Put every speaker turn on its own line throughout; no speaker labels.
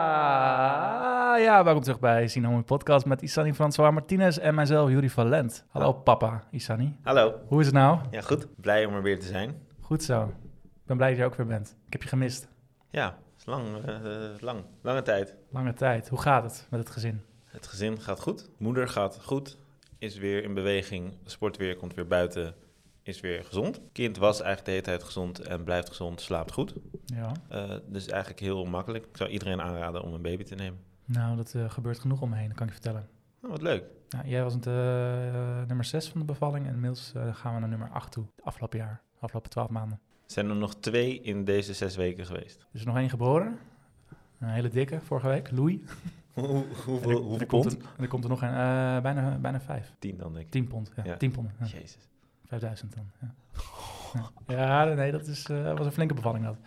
Ja. Ja, welkom terug bij Sinomi Podcast met Isani François Martinez en mijzelf, Juri van Lent. Hallo papa, Isani.
Hallo.
Hoe is het nou?
Ja, goed. Blij om er weer te zijn.
Goed zo. Ik ben blij dat je ook weer bent. Ik heb je gemist.
Ja, het is lang, eh, eh, lang. Lange tijd.
Lange tijd. Hoe gaat het met het gezin?
Het gezin gaat goed. Moeder gaat goed. Is weer in beweging. Sport weer, komt weer buiten. Is weer gezond. Kind was eigenlijk de hele tijd gezond en blijft gezond. Slaapt goed.
Ja.
Eh, dus eigenlijk heel makkelijk. Ik zou iedereen aanraden om een baby te nemen.
Nou, dat eh, gebeurt genoeg omheen, dat kan ik je vertellen.
Nou, wat leuk.
Nou, jij was het, eh, eh, nummer 6 van de bevalling en inmiddels eh, gaan we naar nummer 8 toe. Het afgelopen jaar, de afgelopen 12 maanden.
Zijn er nog twee in deze zes weken geweest?
Er is er nog één geboren. Een hele dikke, vorige week, Louis.
Hoe, hoeveel
En er-
hoeveel
er komt?
pond?
er, er komt er nog een, eh, bijna, bijna vijf.
Tien dan, denk ik.
10 pond. Ja,
Ja.
10 pond. Ja.
Jezus.
5000 dan. Ja, ja. Ja, nee, dat is, eh, was een flinke bevalling dat.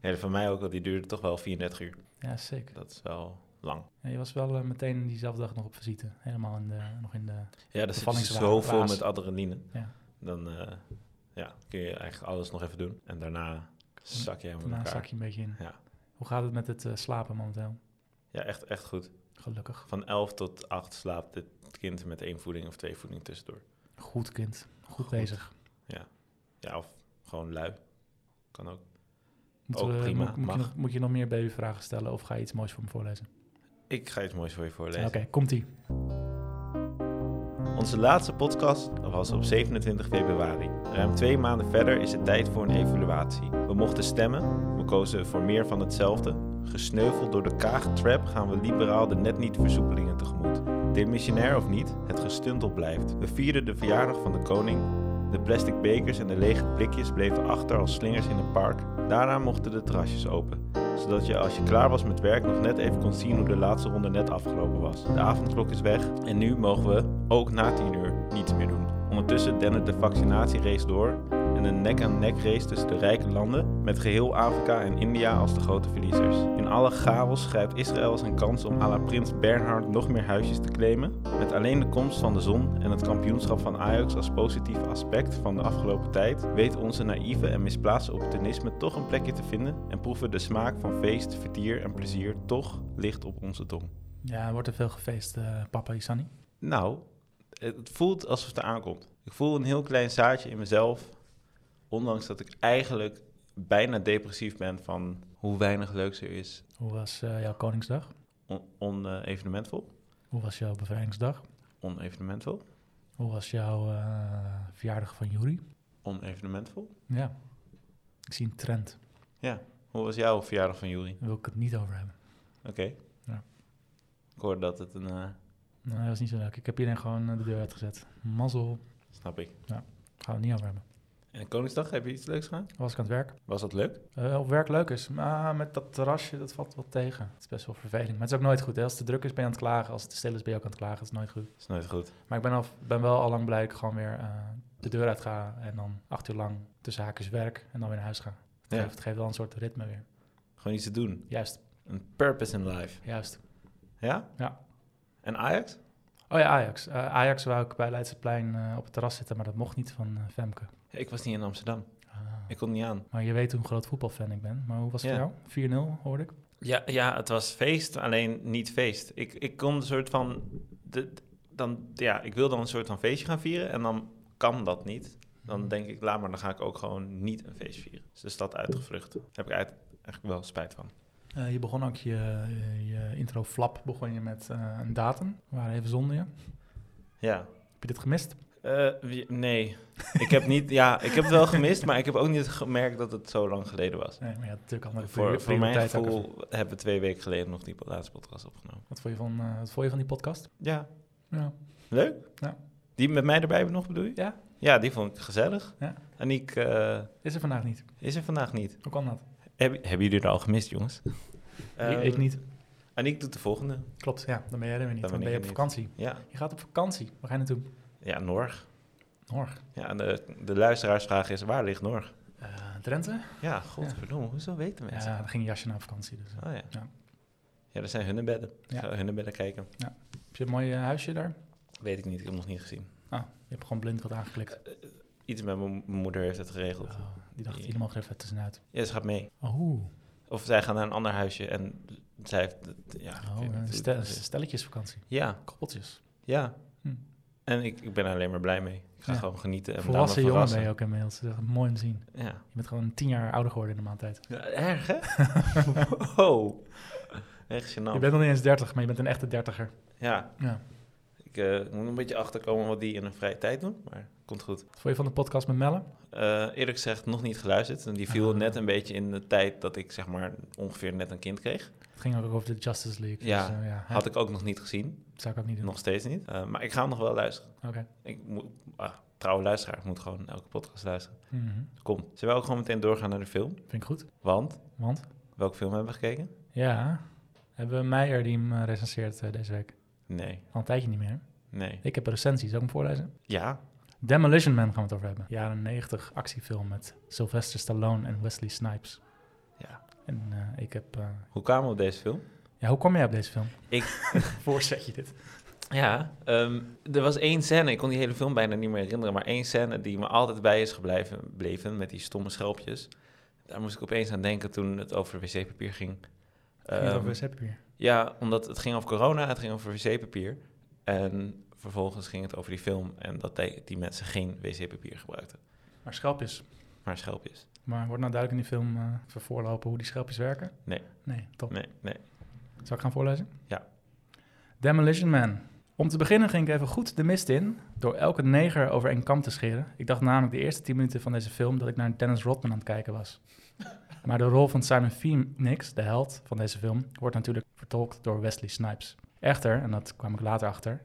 Ja, van mij ook, want die duurde toch wel 34 uur.
Ja, sick.
Dat is wel lang.
Ja, je was wel eh, meteen diezelfde dag nog op visite. Helemaal in de, nog in de...
Ja, er zit
Bevallingswagen,
zoveel
baas.
met adrenaline.
Ja.
Dan eh, ja, kun je eigenlijk alles nog even doen. En daarna zak je helemaal in
Daarna
elkaar.
zak je een beetje in.
Ja.
Hoe gaat het met het eh, slapen momenteel?
Ja, echt, echt goed.
Gelukkig.
Van 11 tot 8 slaapt het kind met één voeding of twee voedingen tussendoor.
Goed kind. Goed, bezig.
Ja, of gewoon lui. Kan ook.
Moeten
Ook
we-
prima,
Moet, moet
mag.
Je nog, moet je nog meer babyvragen stellen of ga je iets moois voor me voorlezen?
Ik ga iets moois voor je voorlezen.
Oké, komt-ie.
Onze laatste podcast was op 27 februari. Ruim twee maanden verder is het tijd voor een evaluatie. We mochten stemmen, we kozen voor meer van hetzelfde. Gesneuveld door de kaagtrap gaan we liberaal de net niet versoepelingen tegemoet. Demissionair of niet, het gestuntel blijft. We vierden de verjaardag van de koning. De plastic bekers en de lege blikjes bleven achter als slingers in een park. Daarna mochten de terrasjes open zodat je als je klaar was met werk nog net even kon zien hoe de laatste ronde net afgelopen was. De avondklok is weg en nu mogen we, ook na 10 uur, niets meer doen. Ondertussen dendert de vaccinatierace door en een nek-aan-nek race tussen de rijke landen met geheel Afrika en India als de grote verliezers. In alle chaos grijpt Israël zijn kans om à la prins Bernhard nog meer huisjes te claimen. Met alleen de komst van de zon en het kampioenschap van Ajax als positief aspect van de afgelopen tijd, weet onze naïeve en misplaatste opportunisme toch een plekje te vinden en proeven de smaak van feest, vertier en plezier toch licht op onze tong.
Ja, er wordt er veel gefeest, eh, papa Isani?
Nou, het voelt alsof het eraan komt. Ik voel een heel klein zaadje in mezelf, ondanks dat ik eigenlijk bijna depressief ben van hoe weinig leuks er is eh,
Hoe was eh, jouw Koningsdag?
onevenementvol.
Hoe was jouw bevrijdingsdag?
onevenementvol.
Hoe was jouw eh, verjaardag van Juri?
Onevenementvol.
Ja, ik zie een trend.
Hoe was jouw verjaardag van Juri?
Daar wil ik het niet over hebben.
Oké.
Ja.
Ik hoorde dat het een... eh,
Nee, dat was niet zo leuk. Ik heb iedereen gewoon eh, de deur uitgezet. Mazzel,
snap ik.
gaan we het niet over hebben.
En Koningsdag, heb je iets leuks gedaan?
Was ik aan het werk?
Was dat leuk?
Eh, of werk leuk is. Maar met dat terrasje, dat valt wel tegen. Het is best wel vervelend. Maar het is ook nooit goed. Hè? Als het te druk is, ben je aan het klagen. Als het te stil is, ben je ook aan het klagen. Dat is nooit goed.
Is nooit goed.
Maar ik ben, al, ben wel al lang blij dat ik gewoon weer eh, de deur uit ga. En dan acht uur lang tussen haakjes werk. En dan weer naar huis ga. Het,
Ja.
geeft, het geeft wel een soort ritme weer.
Gewoon iets te doen.
Juist,
Een purpose in life.
juist.
Ja?
Ja.
En Ajax?
Oh ja, Ajax. Eh, Ajax wou ik bij Leidseplein eh, op het terras zitten, maar dat mocht niet van eh, Femke.
Ik was niet in Amsterdam.
Ah.
Ik kon niet aan.
Maar je weet hoe een groot voetbalfan ik ben. Maar hoe was het
Ja.
voor jou? 4-0 hoorde ik.
Ja, ja, het was feest, alleen niet feest. Ik, ik kon een soort van... De, dan, ja, ik wil dan een soort van feestje gaan vieren en dan kan dat niet. Dan denk ik, laat maar, dan ga ik ook gewoon niet een feest vieren. Dus de stad uitgevlucht. Daar heb ik uit- eigenlijk wel spijt van.
Eh, je begon ook je, je- je intro flap begon je met eh, een datum. We waren even zonder je.
Ja,
Heb je dit gemist?
Eh, wie- nee, ik heb niet. Ja, ik heb het wel gemist, maar ik heb ook niet gemerkt dat het zo lang geleden was.
Nee, maar ja, natuurlijk andere
Voor, voor mijn
prioriteiten ook even.
gevoel hebben we twee weken geleden nog die laatste podcast opgenomen.
Wat vond je van, eh, wat vond je van die podcast?
Ja,
Ja.
leuk.
Ja.
Die met mij erbij nog bedoel je?
Ja.
Ja, die vond ik gezellig.
Ja.
Aniek eh,
Is er vandaag niet.
is er vandaag niet.
Hoe kan dat?
Heb, hebben jullie er al gemist, jongens? Eh,
ik, ik niet.
Aniek doet de volgende.
Klopt, ja. Dan ben jij er weer niet. Dan,
Dan ben
ben je op
ik er
vakantie.
Ja,
Je gaat op vakantie. Waar ga je naartoe?
ja Norg.
Norg.
Ja, en de, de luisteraarsvraag is: waar ligt Norg?
Eh Drenthe?
Ja, godverdomme, hoezo weten mensen?
Ja, dan ging jasje naar op vakantie. Dus. eh.
Oh ja.
Ja.
Ja, dat zijn hunnebedden. Ik
Ja.
ga hunnebedden kijken.
Heb je een mooi eh, huisje daar?
Weet ik niet, ik heb hem nog niet gezien.
Ah, je hebt gewoon blind wat aangeklikt.
Iets met mijn mijn moeder heeft het geregeld.
Oh, die dacht, jullie mogen er even tussenuit.
Ja, ze gaat mee.
Oh,
Of zij gaan naar een ander huisje en zij heeft... Ja, ik
oh
weet
een
niet.
stel- stelletjesvakantie.
ja,
Koppeltjes.
ja.
Hm.
En ik, ik ben er alleen maar blij mee. Ik ga
Ja.
gewoon genieten. En
Volwassen
daarna
jongen
verrassen.
ben je ook inmiddels. Dat is echt mooi om te zien.
Ja.
Je bent gewoon tien jaar ouder geworden in de maand tijd.
Ja, Erg, hè? wow. Echt gênant.
Je bent nog niet eens dertig, maar je bent een echte dertiger.
Ja,
Ja.
ik eh, moet een beetje achterkomen wat die in hun vrije tijd doen, maar komt goed.
Wat vond je van de podcast met Melle?
Eh, eerlijk gezegd, nog niet geluisterd. En die viel
Ah.
net een beetje in de tijd dat ik zeg maar ongeveer net een kind kreeg.
Het ging ook over de Justice League.
Ja,
dus, eh, ja
Had ik ook nog niet gezien,
dat zou ik ook niet doen.
nog steeds niet. Eh, maar ik ga hem nog wel luisteren.
Oké.
Ik moet, ah, trouwe luisteraar, ik moet gewoon elke podcast luisteren.
Mhm.
Kom, zullen we ook gewoon meteen doorgaan naar de film?
Vind ik goed.
Want,
Want,
welke film hebben we gekeken?
ja, hebben we Meijer die hem eh, recenseert eh, deze week.
Nee,
Al een tijdje niet meer.
nee.
Ik heb een recensie, zal ik hem voorlezen?
Ja,
Demolition Man gaan we het over hebben. Jaren 90 actiefilm met Sylvester Stallone en Wesley Snipes.
Ja.
En eh, ik heb... eh,
hoe kwamen we op deze film?
Ja, hoe kwam jij op deze film?
Ik-
Voorzet je dit.
Ja, ehm, er was één scène, ik kon die hele film bijna niet meer herinneren, maar één scène die me altijd bij is gebleven bleven, met die stomme schelpjes. Daar moest ik opeens aan denken toen het over wc-papier ging.
Ging het
Ehm,
over wc-papier?
ja, omdat het ging over corona, het ging over wc-papier. En vervolgens ging het over die film en dat die, die mensen geen wc-papier gebruikten,
Maar schelpjes.
maar schelpjes.
Maar wordt nou duidelijk in die film eh even voorlopen hoe die schelpjes werken?
Nee.
Nee, top.
Nee, nee.
Zal ik gaan voorlezen?
Ja.
Demolition Man. Om te beginnen ging ik even goed de mist in door elke neger over één kam te scheren. Ik dacht namelijk de eerste 10 minuten van deze film dat ik naar Dennis Rodman aan het kijken was. Maar de rol van Simon Phoenix, de held van deze film, wordt natuurlijk vertolkt door Wesley Snipes. Echter, en dat kwam ik later achter,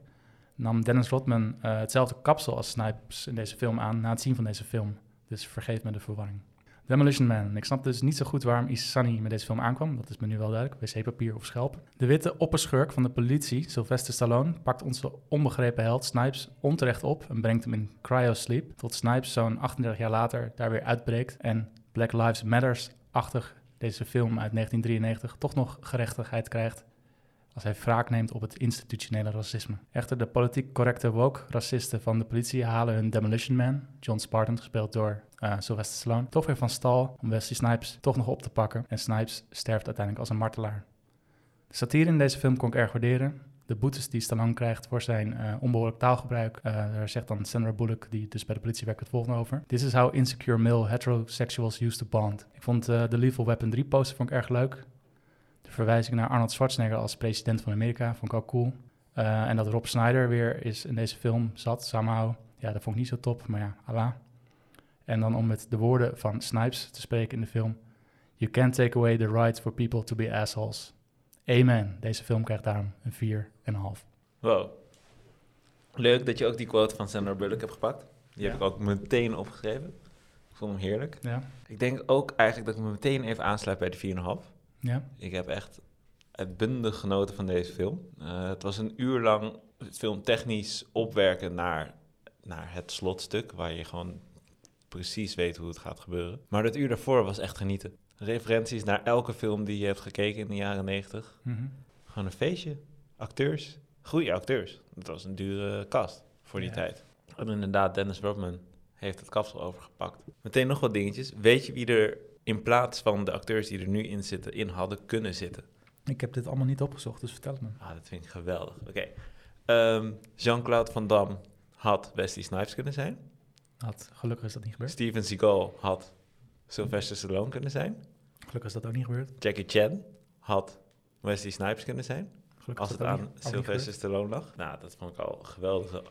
nam Dennis Rodman eh, hetzelfde kapsel als Snipes in deze film aan na het zien van deze film. Dus vergeef me de verwarring. Demolition Man. Ik snap dus niet zo goed waarom Isani met deze film aankwam. Dat is me nu wel duidelijk. Wc-papier of schelp. De witte opperschurk van de politie, Sylvester Stallone, pakt onze onbegrepen held Snipes onterecht op en brengt hem in cryosleep. Tot Snipes zo'n 38 jaar later daar weer uitbreekt en Black Lives Matters-achtig deze film uit 1993 toch nog gerechtigheid krijgt als hij wraak neemt op het institutionele racisme. Echter, de politiek correcte woke-racisten van de politie halen hun Demolition Man, John Spartan, gespeeld door eh, Sylvester Stallone, toch weer van stal om Wesley Snipes toch nog op te pakken. En Snipes sterft uiteindelijk als een martelaar. De satire in deze film kon ik erg waarderen. De boetes die Stallone krijgt voor zijn eh, onbehoorlijk taalgebruik, eh, daar zegt dan Sandra Bullock, die dus bij de politie werkt, het volgende over. This is how insecure male heterosexuals used to bond. Ik vond eh, de Lethal Weapon 3 poster vond ik erg leuk. De verwijzing naar Arnold Schwarzenegger als president van Amerika vond ik ook cool. Eh, en dat Rob Snyder weer is in deze film zat, somehow. Ja, dat vond ik niet zo top, maar ja, ala. En dan om met de woorden van Snipes te spreken in de film. You can't take away the right for people to be assholes. Amen. Deze film krijgt daarom een 4,5.
Wow. Leuk dat je ook die quote van Sandra Bullock hebt gepakt. Die heb
Ja.
ik ook meteen opgeschreven. Ik vond hem heerlijk.
Ja,
Ik denk ook eigenlijk dat ik me meteen even aansluit bij de 4,5.
ja.
Ik heb echt uitbundig genoten van deze film. Eh, het was een uur lang filmtechnisch opwerken naar, naar het slotstuk, waar je gewoon precies weet hoe het gaat gebeuren. Maar dat uur daarvoor was echt genieten. Referenties naar elke film die je hebt gekeken in de jaren 90.
Mhm.
Gewoon een feestje. Acteurs. Goede acteurs. Het was een dure kast voor die
Ja.
tijd. En inderdaad, Dennis Rodman heeft het kapsel overgepakt. Meteen nog wat dingetjes. Weet je wie er in plaats van de acteurs die er nu in zitten, in hadden kunnen zitten?
Ik heb dit allemaal niet opgezocht, dus vertel het me.
Ah, dat vind ik geweldig. Oké. Ehm, Jean-Claude Van Damme had Wesley Snipes kunnen zijn.
Had, gelukkig is dat niet gebeurd.
Steven Seagal had Sylvester Stallone kunnen zijn.
Gelukkig is dat ook niet gebeurd.
Jackie Chan had Wesley Snipes kunnen zijn.
Gelukkig
Als
is
het
dat ook
aan
niet- ook niet
Sylvester Stallone lag. Nou, dat vond ik al geweldige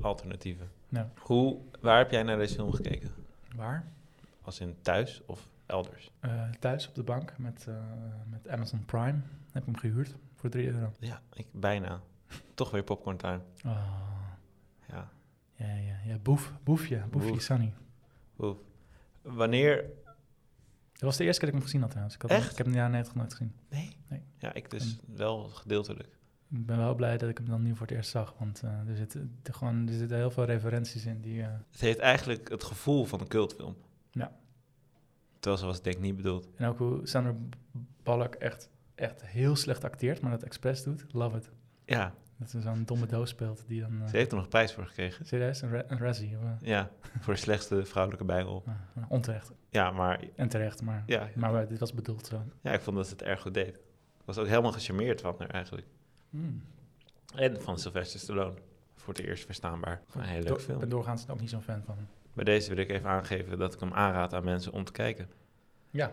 alternatieven.
Ja.
Hoe, waar heb jij naar deze film gekeken?
gebeurd. Waar?
Als in thuis of elders?
Eh, thuis op de bank met, eh, met Amazon Prime. Heb ik hem gehuurd voor 3 euro.
Ja, ik, bijna. Toch weer popcorn time. Ah.
Oh,
Ja.
ja, ja, ja. Boef, boefje, boefje
Boef.
Sunny.
Oef. Wanneer...
Dat was de eerste keer dat ik hem gezien had trouwens. Ik, had Hem,
Echt?
ik heb hem in de jaren 90 nooit gezien.
Nee?
Nee.
Ja, ik dus wel gedeeltelijk.
Ik ben wel blij dat ik hem dan nu voor het eerst zag. Want eh, er, zitten, er, gewoon, er zitten heel veel referenties in die... eh,
Het heeft eigenlijk het gevoel van een cultfilm.
Ja.
Terwijl ze was het denk ik niet bedoeld.
en ook hoe Sandra Bullock echt, echt heel slecht acteert, maar dat expres doet. Love it.
Ja,
Dat ze zo'n domme doos speelt die dan... eh,
Ze heeft er nog een prijs voor gekregen.
serieus? Een, re- een Razzie? of, eh,
Ja, voor de slechtste vrouwelijke bijrol.
nou, nou, onterecht.
Ja, maar
En terecht, maar,
ja,
maar eh, dit was bedoeld zo.
ja, ik vond dat ze het erg goed deed. Ik was ook helemaal gecharmeerd van haar eigenlijk.
Hmm.
En van Sylvester Stallone. Voor het eerst verstaanbaar. Een hele leuke
Door-
film.
Ik ben doorgaans ook niet zo'n fan van.
Bij deze wil ik even aangeven dat ik hem aanraad aan mensen om te kijken.
Ja.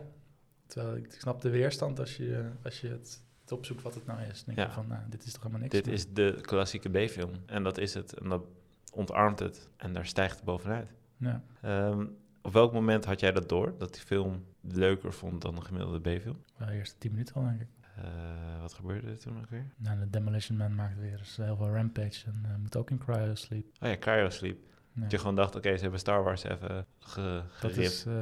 Terwijl ik, ik snap de weerstand als je, eh, als je het het opzoekt wat het nou is. Dan denk
Ja.
je van, nou, dit is toch helemaal niks.
Dit
Maar-
is de klassieke B-film. En dat is het. En dat ontarmt het. En daar stijgt het bovenuit.
Ja.
Ehm, op welk moment had jij dat door? Dat die film leuker vond dan een gemiddelde B-film?
Wel, de eerste tien minuten al, denk ik.
Eh, wat gebeurde er toen ook weer?
Nou, de Demolition Man maakt weer eens heel veel rampage en eh, moet ook in cryo sleep.
Oh ja, Cryo Sleep.
Ja.
Dat je gewoon dacht, oké, ze hebben Star Wars even ge
Dat
geript.
is, eh,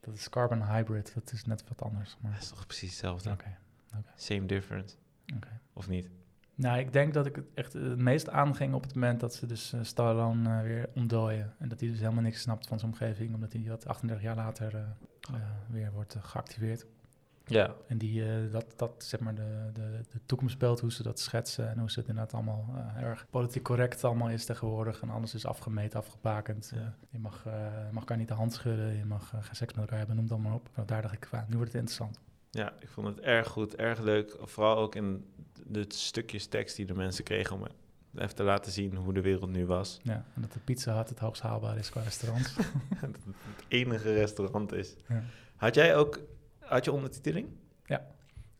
dat is carbon hybrid. Dat is net wat anders.
Dat
Maar
is toch precies hetzelfde?
oké.
Same difference.
Oké.
Of niet?
Nou, ik denk dat ik het echt het meest aanging op het moment dat ze dus eh, Stallone eh, weer ontdooien. En dat hij dus helemaal niks snapt van zijn omgeving, omdat hij dat 38 jaar later eh,
Oh.
eh, weer wordt eh, geactiveerd.
Ja.
En die, eh, dat, dat, zeg maar, de, de, de toekomstbeeld, hoe ze dat schetsen en hoe ze het inderdaad allemaal eh, erg politiek correct allemaal is tegenwoordig. En alles is afgemeten, afgebakend.
Ja.
Eh, je mag, eh, je mag elkaar niet de hand schudden, je mag eh, geen seks met elkaar hebben, noem dat maar op. Nou, daar dacht ik, "Ah, nu wordt het interessant.
ja, ik vond het erg goed, erg leuk. Vooral ook in de stukjes tekst die de mensen kregen om even te laten zien hoe de wereld nu was.
Ja, en dat de Pizza Hut het hoogst haalbaar is qua restaurants.
Het enige restaurant is.
Ja.
Had jij ook, had je ondertiteling?
Ja.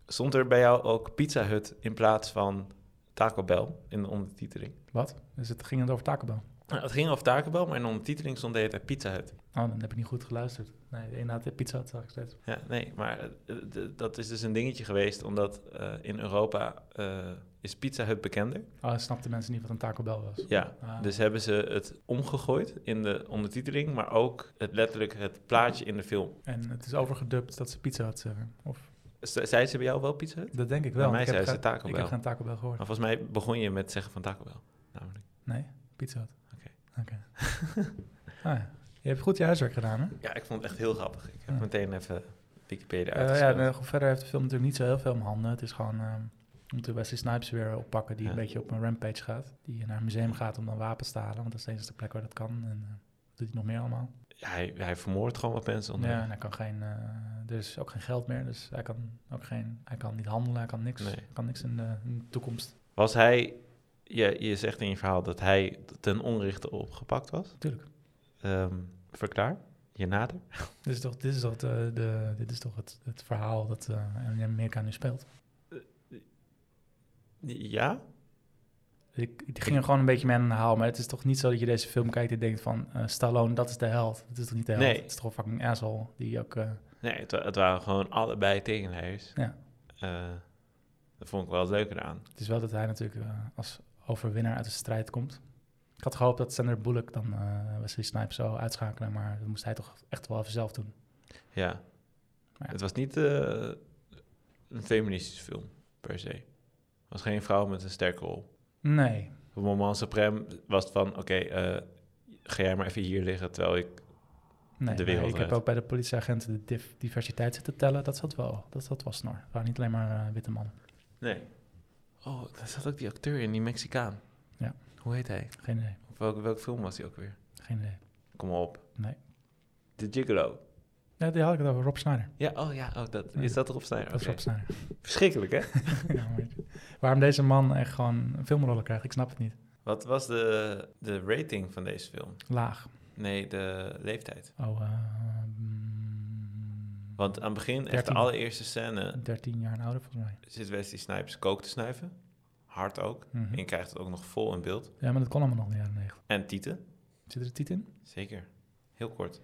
Stond er bij jou ook Pizza Hut in plaats van Taco Bell in de ondertiteling?
Wat? Dus het ging het over Taco Bell.
Nou, het ging over Taco Bell, maar in de ondertiteling stond de hele tijd Pizza Hut.
Oh, dan heb ik niet goed geluisterd. Nee, inderdaad, de pizza had ik steeds.
Ja, nee, maar eh, d- dat is dus een dingetje geweest, omdat eh, in Europa eh, is Pizza Hut bekender.
Oh, snapten mensen niet wat een Taco Bell was?
Ja,
Ah.
dus hebben ze het omgegooid in de ondertiteling, maar ook het letterlijk het plaatje in de film.
En het is overgedubt dat ze pizza had zeggen. Of,
Z- Zei ze bij jou wel Pizza Hut?
dat denk ik
Bij
wel.
mij
ik heb
zei ze
geen-
Taco
Ik
Bell.
heb geen Taco Bell gehoord.
Maar volgens mij begon je met het zeggen van Taco Bell, namelijk.
Nee, pizza had.
Oké.
Oké. ah, ja. Je hebt goed je huiswerk gedaan, hè?
Ja, ik vond het echt heel grappig. Ik heb
Ja.
meteen even Wikipedia
Eh,
uitgespeeld.
ja, en, eh, verder heeft de film natuurlijk niet zo heel veel om handen. Het is gewoon ehm, om de Wesley Snipes weer oppakken... die
Ja.
een beetje op een rampage gaat. Die naar een museum gaat om dan wapens te halen. Want dat is de enige plek waar dat kan. En eh, doet hij nog meer allemaal.
hij, hij vermoordt gewoon wat mensen. Onder.
Ja, en hij kan geen, eh, er is ook geen geld meer, dus hij kan ook geen, hij kan niet handelen, hij kan niks,
Nee.
hij kan niks in de, in de toekomst.
Was hij, je, je zegt in je verhaal dat hij ten onrechte opgepakt was.
Tuurlijk.
Ehm, verklaar, je nader.
Dit is toch, dit is toch, de, de, dit is toch het, het verhaal dat eh, in Amerika nu speelt.
Ja?
Dus Ik, ik ging er gewoon een beetje mee aan de haal, maar het is toch niet zo dat je deze film kijkt en denkt van eh, Stallone, dat is de held. Dat is toch niet de held?
Nee.
Het is toch een fucking asshole die ook... eh,
Nee, het, wa- het waren gewoon allebei tegenleiders.
Ja.
Eh, dat vond ik wel het leuke eraan.
het is wel dat hij natuurlijk eh, als overwinnaar uit de strijd komt. Ik had gehoopt dat Sander Bullock dan eh Wesley Snipes zou uitschakelen, maar dat moest hij toch echt wel even zelf doen.
Ja.
Maar ja.
Het was niet eh, een feministische film, per se. Het was geen vrouw met een sterke rol.
Nee,
Op het moment supreme was het van, oké, eh, ga jij maar even hier liggen, terwijl ik...
Nee,
de
maar
wereld
ik heb
redt.
ook bij de politieagenten de dif- diversiteit zitten tellen. Dat zat wel, dat zat wel snor. Het waren niet alleen maar eh, witte mannen.
Nee. Oh, daar zat ook die acteur in, die Mexicaan.
Ja.
Hoe heet hij?
Geen idee,
Op welke, welke film was hij ook weer?
geen idee.
Kom op.
Nee.
De Gigolo.
Ja, die had ik het over, Rob Snyder.
Ja, oh ja, oh, dat,
Nee.
is dat erop Snyder?
Dat is
Oké.
Rob Snyder.
Verschrikkelijk, hè?
Ja, maar waarom deze man echt gewoon filmrollen krijgt, ik snap het niet.
Wat was de, de rating van deze film?
Laag.
Nee, de leeftijd.
Oh, eh, mm,
Want aan het begin, echt de
13.
allereerste scène,
13 jaar en ouder volgens mij.
zit Wesley Snipes kook te snuiven. Hard ook.
Mhm.
En je krijgt het ook nog vol in beeld.
Ja, maar dat kon allemaal nog in de jaren 90.
En Tieten,
Zit er een titel in?
zeker. Heel kort.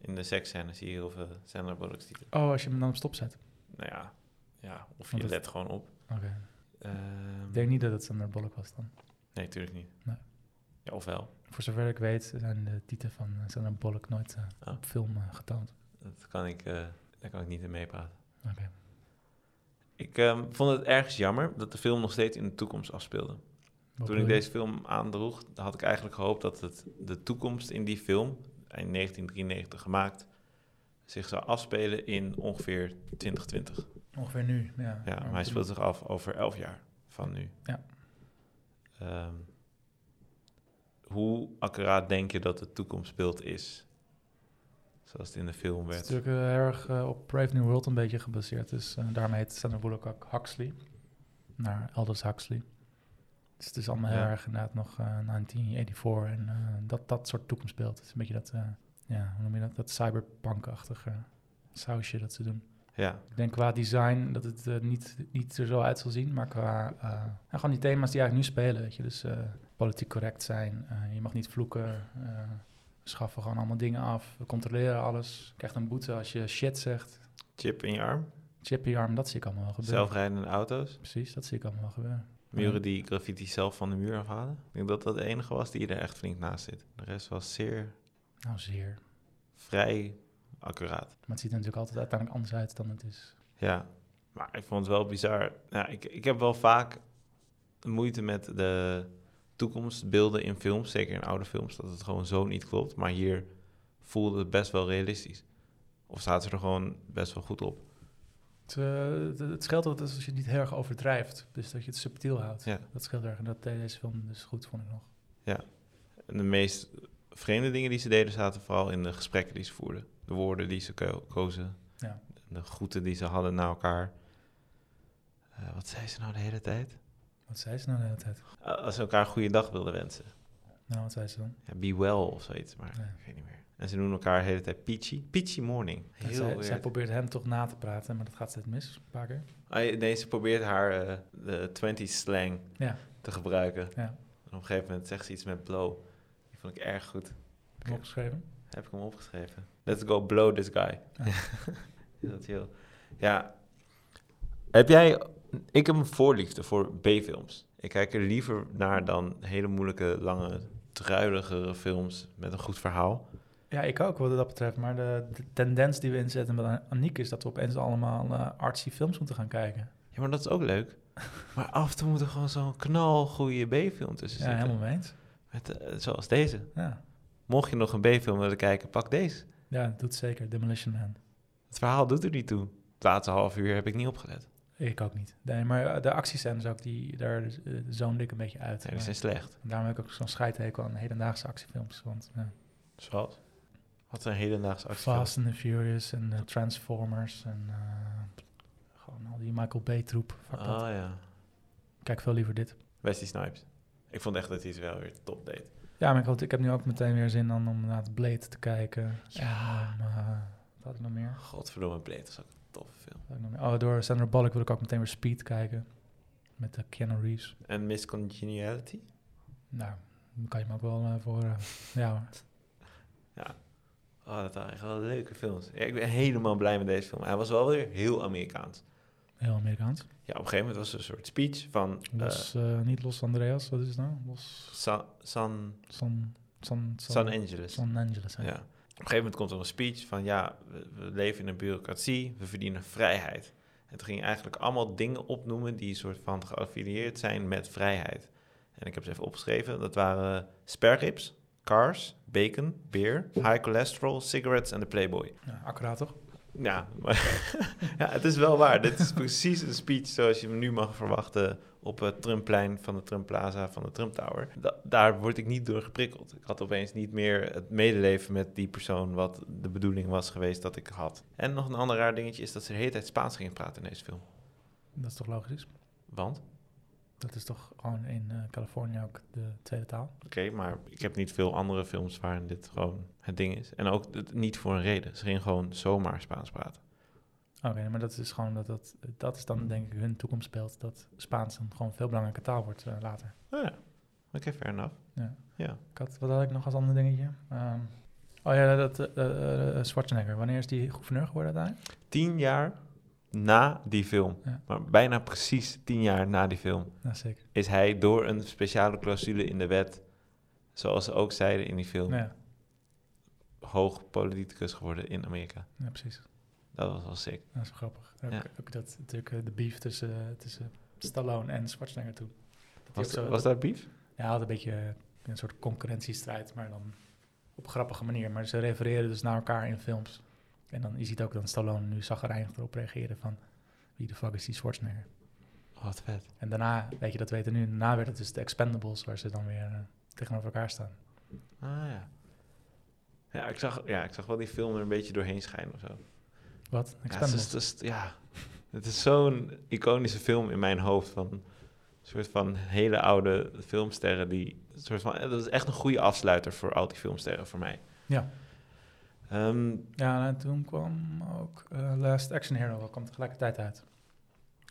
In de seksscène zie je heel veel Sandra Bullock's tieten.
Oh, als je hem dan op stop zet.
Nou ja, ja of
Want
je
het-
let gewoon op.
Oké.
Ehm,
Ik denk niet dat het Sander Bullock was dan.
Nee, natuurlijk niet.
Nee.
Ja, ofwel.
Voor zover ik weet zijn de titels van eh, Sander Bullock nooit eh,
Oh.
op film eh, getoond.
Dat kan ik, eh, daar kan ik niet in meepraten.
Oké.
Ik ehm, vond het ergens jammer dat de film nog steeds in de toekomst afspeelde.
Wat
Toen
bedoel
ik
je?
deze film aandroeg, had ik eigenlijk gehoopt dat het, de toekomst in die film, in 1993 gemaakt, zich zou afspelen in ongeveer 2020.
Ongeveer nu, ja.
Ja, maar
Maar
hij
toen-
speelt zich af over 11 jaar. van nu.
Ja.
Ehm, hoe accuraat denk je dat het toekomstbeeld is? Zoals het in de film
Het is
werd.
natuurlijk eh, erg eh, op Brave New World een beetje gebaseerd. Dus eh, daarmee heet Sandra Bullock ook Huxley. Naar Aldous Huxley. Dus het is allemaal heel
Ja.
erg inderdaad nog eh, 1984 en eh, dat, dat soort toekomstbeeld. Het is een beetje dat, eh, ja, hoe noem je dat? Dat cyberpunk-achtige sausje dat ze doen.
Ja,
Ik denk qua design dat het eh, niet, niet er zo uit zal zien, maar qua eh, ja, gewoon die thema's die eigenlijk nu spelen, weet je. Dus eh, politiek correct zijn, eh, je mag niet vloeken, eh, we schaffen gewoon allemaal dingen af, we controleren alles. Je krijgt een boete als je shit zegt.
chip in je arm,
Chip in je arm, dat zie ik allemaal wel gebeuren.
zelfrijdende auto's,
Precies, dat zie ik allemaal wel gebeuren.
muren die graffiti zelf van de muur afhalen. Ik denk dat dat de enige was die er echt flink naast zit. De rest was zeer
Nou, zeer.
vrij accuraat.
Maar het ziet er natuurlijk altijd uiteindelijk anders uit dan het is.
Ja, maar ik vond het wel bizar. Nou, ik, ik heb wel vaak moeite met de toekomstbeelden in films, zeker in oude films, dat het gewoon zo niet klopt. Maar hier voelde het best wel realistisch. Of staat ze er gewoon best wel goed op.
Het, eh, het- het scheelt altijd als je het niet heel erg overdrijft, dus dat je het subtiel houdt.
Ja.
Dat scheelt erg en dat deed deze film dus goed, vond ik nog.
En de meest vreemde dingen die ze deden zaten vooral in de gesprekken die ze voerden. De woorden die ze ko- kozen.
Ja.
De groeten die ze hadden naar elkaar. Eh, wat zei ze nou de hele tijd?
Wat zei ze nou de hele tijd?
Eh, als ze elkaar goede dag wilden wensen.
Nou, wat zei ze dan?
Ja, be well of zoiets, maar
Ja.
ik weet niet meer. En ze noemen elkaar de hele tijd Peachy. Peachy Morning.
En
Heel
zij, zij
weird.
probeert hem toch na te praten, maar dat gaat steeds mis, een paar keer.
Ah, nee, ze probeert haar eh, de 20s slang
Ja.
te gebruiken.
Ja.
En op een gegeven moment zegt ze iets met blow. Die vond ik erg goed.
Heb ik opgeschreven.
Heb ik hem opgeschreven. Let's go blow this guy.
Ja.
Dat is heel... Ja. Heb jij... Ik heb een voorliefde voor B-films. Ik kijk er liever naar dan hele moeilijke, lange, druiligere films met een goed verhaal.
Ja, ik ook wat dat betreft. Maar de, de tendens die we inzetten met An- Aniek is dat we opeens allemaal eh, artsy films moeten gaan kijken.
Ja, maar dat is ook leuk. Maar af en toe moet er gewoon zo'n knalgoeie B-film tussen
Ja,
zitten.
helemaal mee eens.
Met, eh, zoals deze.
Ja.
Mocht je nog een B-film willen kijken, pak deze.
ja, dat doet zeker. Demolition Man.
Het verhaal doet er niet toe. Het laatste half uur heb ik niet opgelet.
Ik ook niet. Nee, maar eh, de actiescènes ook, die, daar eh, zoonde ik een beetje uit.
Nee, die zijn
Maar
slecht.
daarom heb ik ook zo'n scheidhekel aan hedendaagse actiefilms. Want ja,
Zoals? Wat een hedendaagse actie.
Fast and the Furious en eh, Transformers en eh, gewoon al die Michael Bay troep. Fuck
Ah
dat.
ja.
Kijk veel liever dit.
Wesley Snipes. Ik vond echt dat hij ze wel weer top deed.
Ja, maar ik, had- ik heb nu ook meteen weer zin dan om naar het Blade te kijken. Ja. En, om, eh, wat had ik nog meer?
Godverdomme, Blade was ook een toffe film.
Wat had ik nog meer? Oh, door Sandra Bullock wil ik ook meteen weer Speed kijken. Met de Keanu Reeves.
En Miss Congeniality?
Nou, daar kan je me ook wel eh, voor... eh, ja hoor.
Oh, dat waren echt wel leuke films. Ja, ik ben helemaal blij met deze film. Hij was wel weer heel Amerikaans.
heel Amerikaans.
Ja, op een gegeven moment was er een soort speech van... eh,
Los, eh, niet Los Andreas, wat is het nou? Los
San, San,
San... San, San,
San Angeles.
San Angeles, hè?
Ja. Op een gegeven moment komt er een speech van ja, we, we leven in een bureaucratie, we verdienen vrijheid. En toen ging hij eigenlijk allemaal dingen opnoemen die soort van geaffilieerd zijn met vrijheid. En ik heb ze even opgeschreven. Dat waren sperrips, cars, bacon, beer, high cholesterol, cigarettes en de Playboy.
Ja, accuraat toch?
Ja, maar, ja, het is wel waar. Dit is precies een speech zoals je hem nu mag verwachten op het Trumpplein van de Trump Plaza van de Trump Tower. Da- daar word ik niet door geprikkeld. Ik had opeens niet meer het medeleven met die persoon wat de bedoeling was geweest dat ik had. En nog een ander raar dingetje is dat ze de hele tijd Spaans gingen praten in deze film.
Dat is toch logisch?
Want,
Dat is toch gewoon in eh, Californië ook de tweede taal?
oké, maar ik heb niet veel andere films waarin dit gewoon het ding is. En ook het- niet voor een reden. Ze gingen gewoon zomaar Spaans praten.
Oké, maar dat is gewoon dat, dat dat is dan denk ik hun toekomstbeeld dat Spaans dan gewoon een veel belangrijke taal wordt eh, later.
Nou ja, oké, fair enough.
Ik had, wat had ik nog als ander dingetje? Ehm, oh ja, dat eh, eh, eh, Schwarzenegger. Wanneer is die gouverneur geworden uiteindelijk?
tien jaar na die film,
Ja.
maar bijna precies tien jaar na die film,
Ja, zeker.
is hij door een speciale clausule in de wet, zoals ze ook zeiden in die film,
Nou Ja,
hoog politicus geworden in Amerika.
ja, precies.
Dat was wel sick.
Dat is wel grappig. Ook,
Ja.
ook dat natuurlijk eh, de beef tussen, eh, tussen Stallone en Schwarzenegger toen. Dat die
Was,
ook zo-
was dat beef?
Ja, hij had een beetje eh, een soort concurrentiestrijd, maar dan op grappige manier. Maar ze refereren dus naar elkaar in films. En dan, je ziet ook dat Stallone nu zagrijnig erop reageren van... wie de fuck is die Schwarzenegger?
Wat vet.
En daarna, weet je, dat weten we nu, daarna werd het dus de Expendables, waar ze dan weer eh, tegenover elkaar staan.
Ah ja. Ja ik, zag, ja, ik zag wel die film er een beetje doorheen schijnen of zo.
Wat?
Ja, het
Expendables?
is, het is- ja, het is zo'n iconische film in mijn hoofd. Van een soort van hele oude filmsterren. Die, een soort van, dat is echt een goede afsluiter voor al die filmsterren voor mij.
Ja.
Ehm,
Ja, en toen kwam ook eh, Last Action Hero, dat kwam tegelijkertijd uit.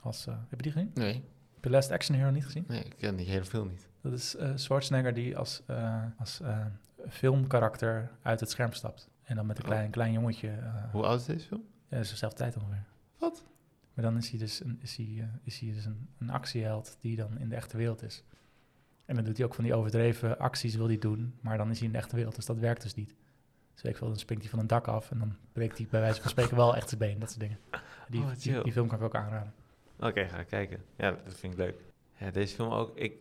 Als, eh, heb je die gezien?
nee,
Heb je Last Action Hero niet gezien?
nee, ik ken die hele film niet.
Dat is eh, Schwarzenegger die als, eh, als eh, filmkarakter uit het scherm stapt. En dan met een klein, klein jongetje. eh
Oh. Hoe oud is deze film?
ja, is dezelfde tijd ongeveer.
Wat?
Maar dan is hij dus, een, is hij, eh, is hij dus een, een actieheld die dan in de echte wereld is. En dan doet hij ook van die overdreven acties, wil hij doen. Maar dan is hij in de echte wereld, dus dat werkt dus niet. Dus weet ik veel, dan springt hij van een dak af en dan breekt hij bij wijze van spreken wel echt zijn been. Dat soort dingen. Die,
Oh, chill.
die, die film kan ik ook aanraden.
Oké, ga ik kijken. Ja, dat vind ik leuk. Ja, deze film ook. Ik,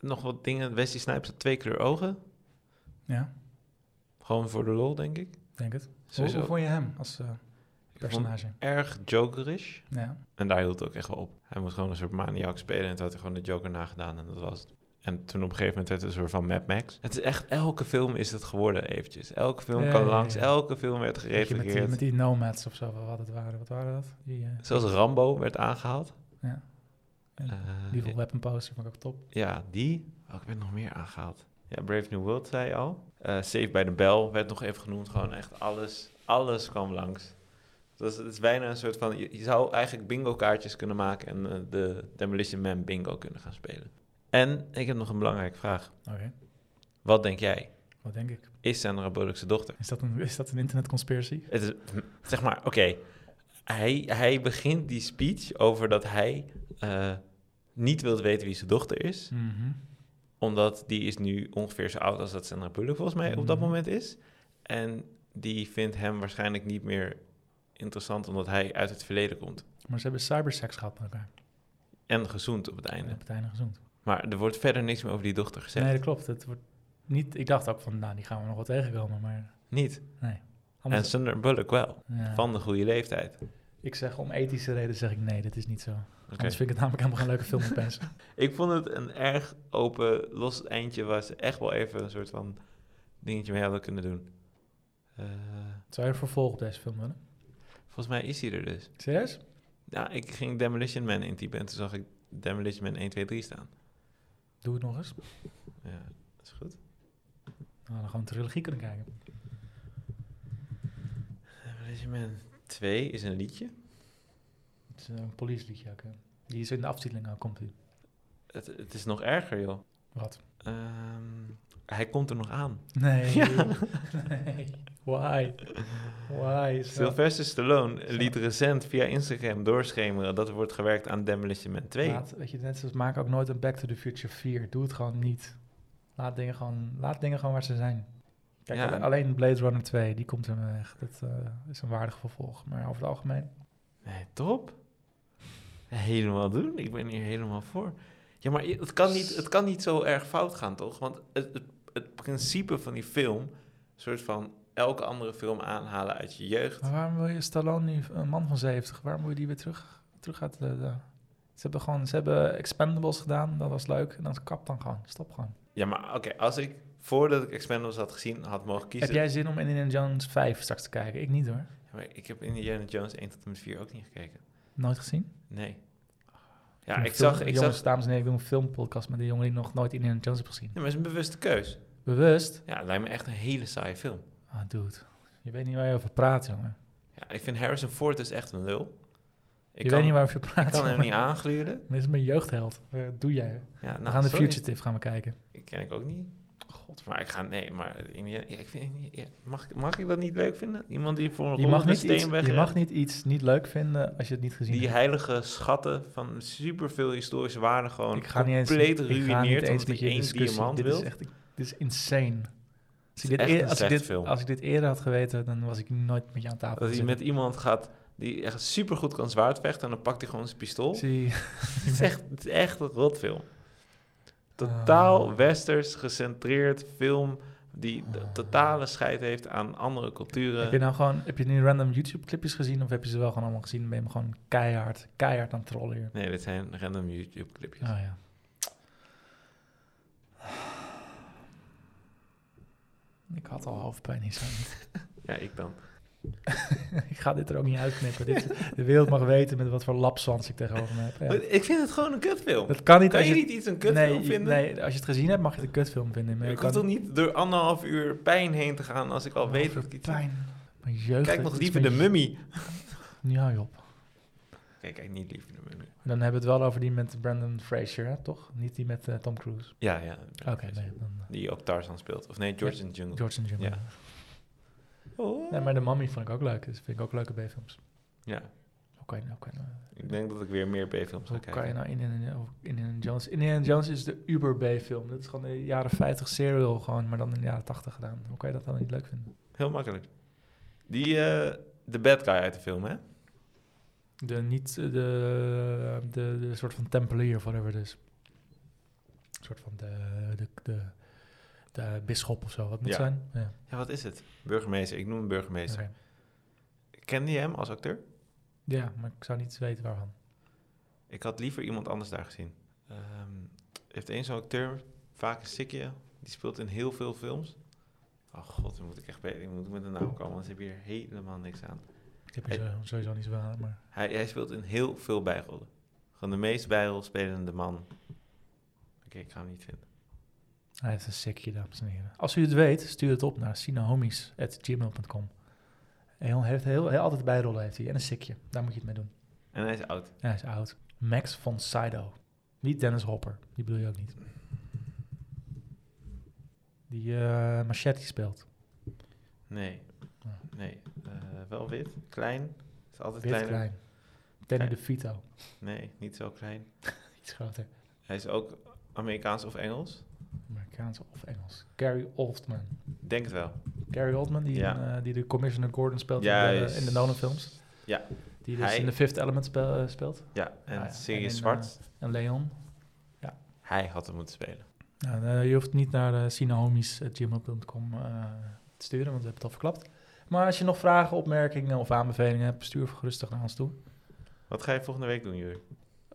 nog wat dingen. Wesley Snipes had twee kleur ogen.
Ja,
Gewoon voor de lol, denk ik.
denk het. Hoe,
Sowieso.
hoe vond je hem als eh,
Ik vond hem
personage?
erg jokerish.
Ja.
En daar hield het ook echt wel op. Hij moest gewoon een soort maniac spelen en toen had hij gewoon de Joker nagedaan en dat was het. En toen op een gegeven moment werd het een soort van Mad Max. Het is echt, elke film is het geworden eventjes. Elke film
Ja,
kan
ja, ja,
langs,
ja.
elke film werd
Weet je, Met die,
gerefereerd.
met die nomads of zo, wat het waren. Wat waren dat? Die, eh
Zelfs Rambo werd aangehaald.
Ja. En
Eh,
Evil Weapon poster vond ik ook top.
ja, die. Ook Oh, werd nog meer aangehaald. Ja, Brave New World zei je al. Eh Safe by the Bell werd nog even genoemd. Gewoon echt alles, alles kwam langs. Dus het is bijna een soort van... Je, je zou eigenlijk bingo kaartjes kunnen maken... en eh, de Demolition Man bingo kunnen gaan spelen. En ik heb nog een belangrijke vraag.
Oké,
Wat denk jij?
wat denk ik?
Is Sandra Bullock zijn dochter?
Is dat een, is dat een internetconspiracy?
Het is, zeg maar, oké. Hij, hij begint die speech over dat hij eh, niet wilt weten wie zijn dochter is...
Mhm.
Omdat die is nu ongeveer zo oud als dat Sandra Bullock volgens mij op dat
Mhm.
moment is. En die vindt hem waarschijnlijk niet meer interessant omdat hij uit het verleden komt.
Maar ze hebben cyberseks gehad met elkaar.
En gezoend op het
En
einde.
op het einde gezoend.
Maar er wordt verder niks meer over die dochter gezegd.
Nee, dat klopt. Het wordt niet, ik dacht ook van, nou, die gaan we nog wel tegenkomen. Maar
Niet. En
anders,
Sandra Bullock wel.
ja.
Van de goede leeftijd.
Ik zeg om ethische redenen zeg ik nee, dat is niet zo.
Oké.
Anders vind ik het namelijk helemaal geen leuke film opeens.
Ik vond het een erg open, los eindje waar ze echt wel even een soort van dingetje mee hadden kunnen doen. Eh,
Zou je een vervolg op deze film willen?
volgens mij is hij er dus.
Serieus?
Ja, ik ging Demolition Man intypen en toen zag ik Demolition Man 1, 2, 3 staan.
Doe het nog eens. Nou, We
Ja, dat is goed.
hadden gewoon een trilogie kunnen kijken.
Demolition Man 2 is een liedje.
Het is een police liedje ook. hè. Die is in de aftiteling, nou komt hij.
Het, het is nog erger, joh.
Wat?
Ehm, hij komt er nog aan.
Nee.
Ja.
Nee. Why? Why? Is dat-
Sylvester Stallone
Zo.
liet recent via Instagram doorschemeren dat er wordt gewerkt aan Demolition Man 2.
Laat, weet je, net zoals maak ook nooit een Back to the Future 4. Doe het gewoon niet. Laat dingen gewoon, laat dingen gewoon waar ze zijn. Kijk,
Ja.
alle- alleen Blade Runner 2, die komt er mee weg. Dat eh, is een waardig vervolg. Maar over het algemeen,
Nee, top. Helemaal doen. Ik ben hier helemaal voor. Ja, maar het kan niet, het kan niet zo erg fout gaan, toch? Want het, het, het principe van die film, een soort van elke andere film aanhalen uit je jeugd.
maar waarom wil je Stallone nu, een man van 70, waarom wil je die weer terug, terug uit de, de- Ze hebben gewoon, ze hebben Expendables gedaan, dat was leuk. En dan kap dan gewoon, stop gewoon.
Ja, maar oké, als ik voordat ik Expendables had gezien had mogen kiezen...
Heb jij zin om Indiana Jones 5 straks te kijken? Ik niet hoor.
Ja, maar ik heb Indiana Jones 1 tot en met 4 ook niet gekeken.
Nooit gezien.
Nee. Ja,
Een
ik
film-
zag... Ik
jongens,
zag
dames en heren, ik doe een filmpodcast met een jongen die nog nooit Indiana Jones heeft gezien.
nee, maar het is een bewuste keus.
Bewust?
Ja, het lijkt me echt een hele saaie film.
Ah, dude. Je weet niet waar je over praat, jongen.
Ja, ik vind Harrison Ford is echt een lul. Ik
je
kan,
weet niet waarover je
ik
praat,
kan hem
jongen.
niet aangluren.
Dit is mijn jeugdheld. Eh, doe jij.
Ja,
We
nou,
gaan de
sorry.
Fugitive gaan we kijken.
Ik ken ik ook niet. God, maar ik ga... Nee, maar... Indiana, ja, ik vind, ja, mag, mag ik dat niet leuk vinden? Iemand die voor een
Je mag,
rollende
niet iets,
steen
je
weg
mag niet iets niet leuk vinden als je het niet gezien
Die
hebt.
heilige schatten van superveel historische waarde gewoon
ik ga niet eens,
compleet
ik ga niet
ruïneerd
eens
omdat
met
hij
je
één
discussie.
diamant
Dit
wil.
is echt dit is insane. Als ik, dit
echt een
eer- als, ik
slecht
dit,
film.
als ik dit eerder had geweten, dan was ik nooit met je aan tafel
Dat hij
gezeten.
met iemand gaat die echt super goed kan zwaardvechten en dan pakt hij gewoon zijn pistool.
Zie-
Het is echt, het is echt een rotfilm. Totaal
Ah. Ah.
westers gecentreerd film die de totale scheid heeft aan andere
Heb je
culturen.
nou gewoon, heb je nu random YouTube clipjes gezien of heb je ze wel gewoon allemaal gezien? en Ben je hem gewoon keihard, keihard aan het trollen hier?
Nee, dit zijn random YouTube-clipjes.
Oh ja. Ik had al hoofdpijn hier zo niet.
Ja, ik dan.
ik ga dit er ook niet uitknippen. Dit, de wereld mag weten met wat voor lapswans ik tegenover me heb. Ja.
Maar Ik vind het gewoon een kutfilm.
Dat kan niet
Kan
als
je
je...
niet iets een kutfilm
nee, je-
vinden?
nee, als je het gezien hebt mag je het een kutfilm vinden. Maar je
ik
kan Oh,
hoef toch niet door anderhalf uur pijn heen te gaan als ik al weet dat ik iets...
Pijn. Mijn jeugd.
Kijk nog
iets
liever de
met-
mummy.
Ja joh.
Kijk, kijk niet liever de mummy.
Dan hebben we het wel over die met Brandon Fraser, hè, toch? Niet die met eh, Tom Cruise.
Ja, ja.
Oké, nee. Dan, eh,
Die ook Tarzan speelt. Of nee, George in the Jungle.
George and Jim.
Ja. Oh.
Nee, maar de Mummy vond ik ook leuk. Dus vind ik ook leuke B-films.
Ja,
Hoe kan je nou, hoe kan je nou,
ik denk dat ik weer meer B-films ga
hoe kan je
kijken.
nou Indiana, of Indiana Jones... Indiana Jones is de uber B-film. Dat is gewoon de jaren 50 serial gewoon, maar dan in de jaren 80 gedaan. Hoe kan je dat dan niet leuk vinden?
Heel makkelijk. Die, eh, de bad guy uit de film, hè?
De niet... eh, De, de, de soort van tempelier of whatever het is. Een soort van de... de, de de bisschop of zo, wat moet
Ja.
het zijn? Ja.
Ja, wat is het? Burgemeester, ik noem hem burgemeester.
oké.
Kende je hem als acteur?
ja, maar ik zou niet weten waarvan.
Ik had liever iemand anders daar gezien. Ehm, heeft één zo'n acteur, vaak een sikje, die speelt in heel veel films. Oh god, dan moet ik echt beter, ik moet met een naam komen, anders heb je hier helemaal niks aan.
Ik heb er zo- sowieso niet zoveel aan, maar...
Hij, hij speelt in heel veel bijrollen. Gewoon de meest bijrolspelende man. Oké, ik ga hem niet vinden.
Hij heeft een sikje, dames en heren. Als u het weet, stuur het op naar sinahomies.gmail.com. En Hij heeft heel, heel, altijd bijrollen heeft hij. En een sikje. Daar moet je het mee doen.
En hij is oud.
En hij is oud. Max von Sydow. Niet Dennis Hopper. Die bedoel je ook niet. Die eh machete speelt.
Nee.
Ja.
Nee. Eh, wel wit, klein. Is altijd
Wit
kleiner.
klein. Danny
Klein.
de Vito.
Nee, niet zo klein.
Iets groter.
Hij is ook Amerikaans of Engels?
Amerikaans of Engels. Gary Oldman.
Denk het wel.
Gary Oldman, die,
Ja.
een, eh, die de Commissioner Gordon speelt in, de,
Juist.
in de Nolan films.
Ja.
Die dus
Hij-
in de Fifth Element speel- eh, speelt.
Ja, en
Ah ja,
Sirius
en in,
Zwart.
En Leon.
Hij had hem moeten spelen.
Nou, eh, je hoeft niet naar eh sinahomies.gmail.com eh, te sturen, want we hebben het al verklapt. Maar als je nog vragen, opmerkingen of aanbevelingen hebt, stuur gerustig naar ons toe.
Wat ga je volgende week doen, Jurk?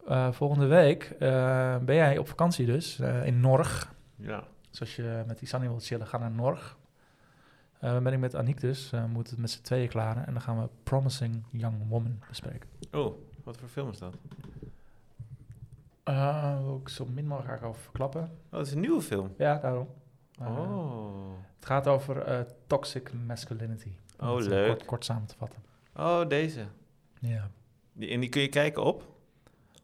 Eh, volgende week eh, ben jij op vakantie dus, eh, in Norg.
Ja.
Dus als je met Isani wilt chillen, ga naar Norg. Eh, dan ben ik met Aniek dus, eh, we moeten het met z'n tweeën klaren. En dan gaan we Promising Young Woman bespreken.
Oh, wat voor film is dat?
Eh, wil ik zo min mogelijk over verklappen.
Oh, dat is een nieuwe film.
Ja, daarom. Eh,
Oh.
Het gaat over eh, toxic masculinity. Om
Oh,
het, eh,
leuk.
Kort, kort samen te vatten.
Oh, deze.
Ja.
Die, en die kun je kijken op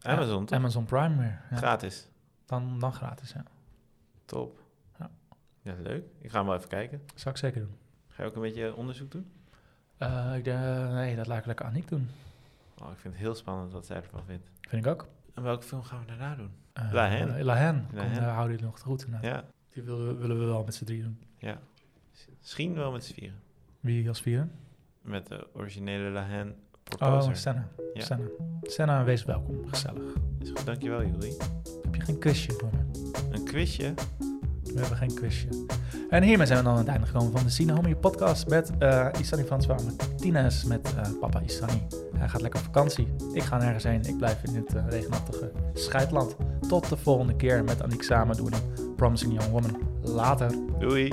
Amazon, toch?
Amazon Prime weer. Ja.
Gratis.
Dan, dan gratis, ja.
Top.
Ja.
Ja, leuk. Ik ga hem wel even kijken.
Zou ik zeker doen.
Ga je ook een beetje onderzoek doen?
Eh, ik denk, nee, dat laat ik lekker Aniek doen.
Oh, ik vind het heel spannend wat zij ervan vindt.
Vind ik ook.
En welke film gaan we daarna doen?
Eh,
La Haine.
eh, La Haine. Kom,
Haine.
daar houden jullie nog goed inderdaad.
Ja,
Die willen, willen we wel met z'n drie doen.
ja. Misschien wel met z'n vieren.
Wie als vieren?
Met de originele Lahan
Oh,
Proposer.
Senna.
Ja.
Senna. Senna, wees welkom. Gezellig.
Is goed, dankjewel Juri.
Heb je geen quizje voor me?
Een quizje.
We hebben geen quizje. En hiermee zijn we dan aan het einde gekomen van de Sine Homie podcast met eh Isani François Martinez, met eh, papa Isani. Hij gaat lekker op vakantie. Ik ga nergens heen. Ik blijf in dit eh, regenachtige scheidland. Tot de volgende keer met Aniek samen doen. we Promising Young Woman. Later.
Doei.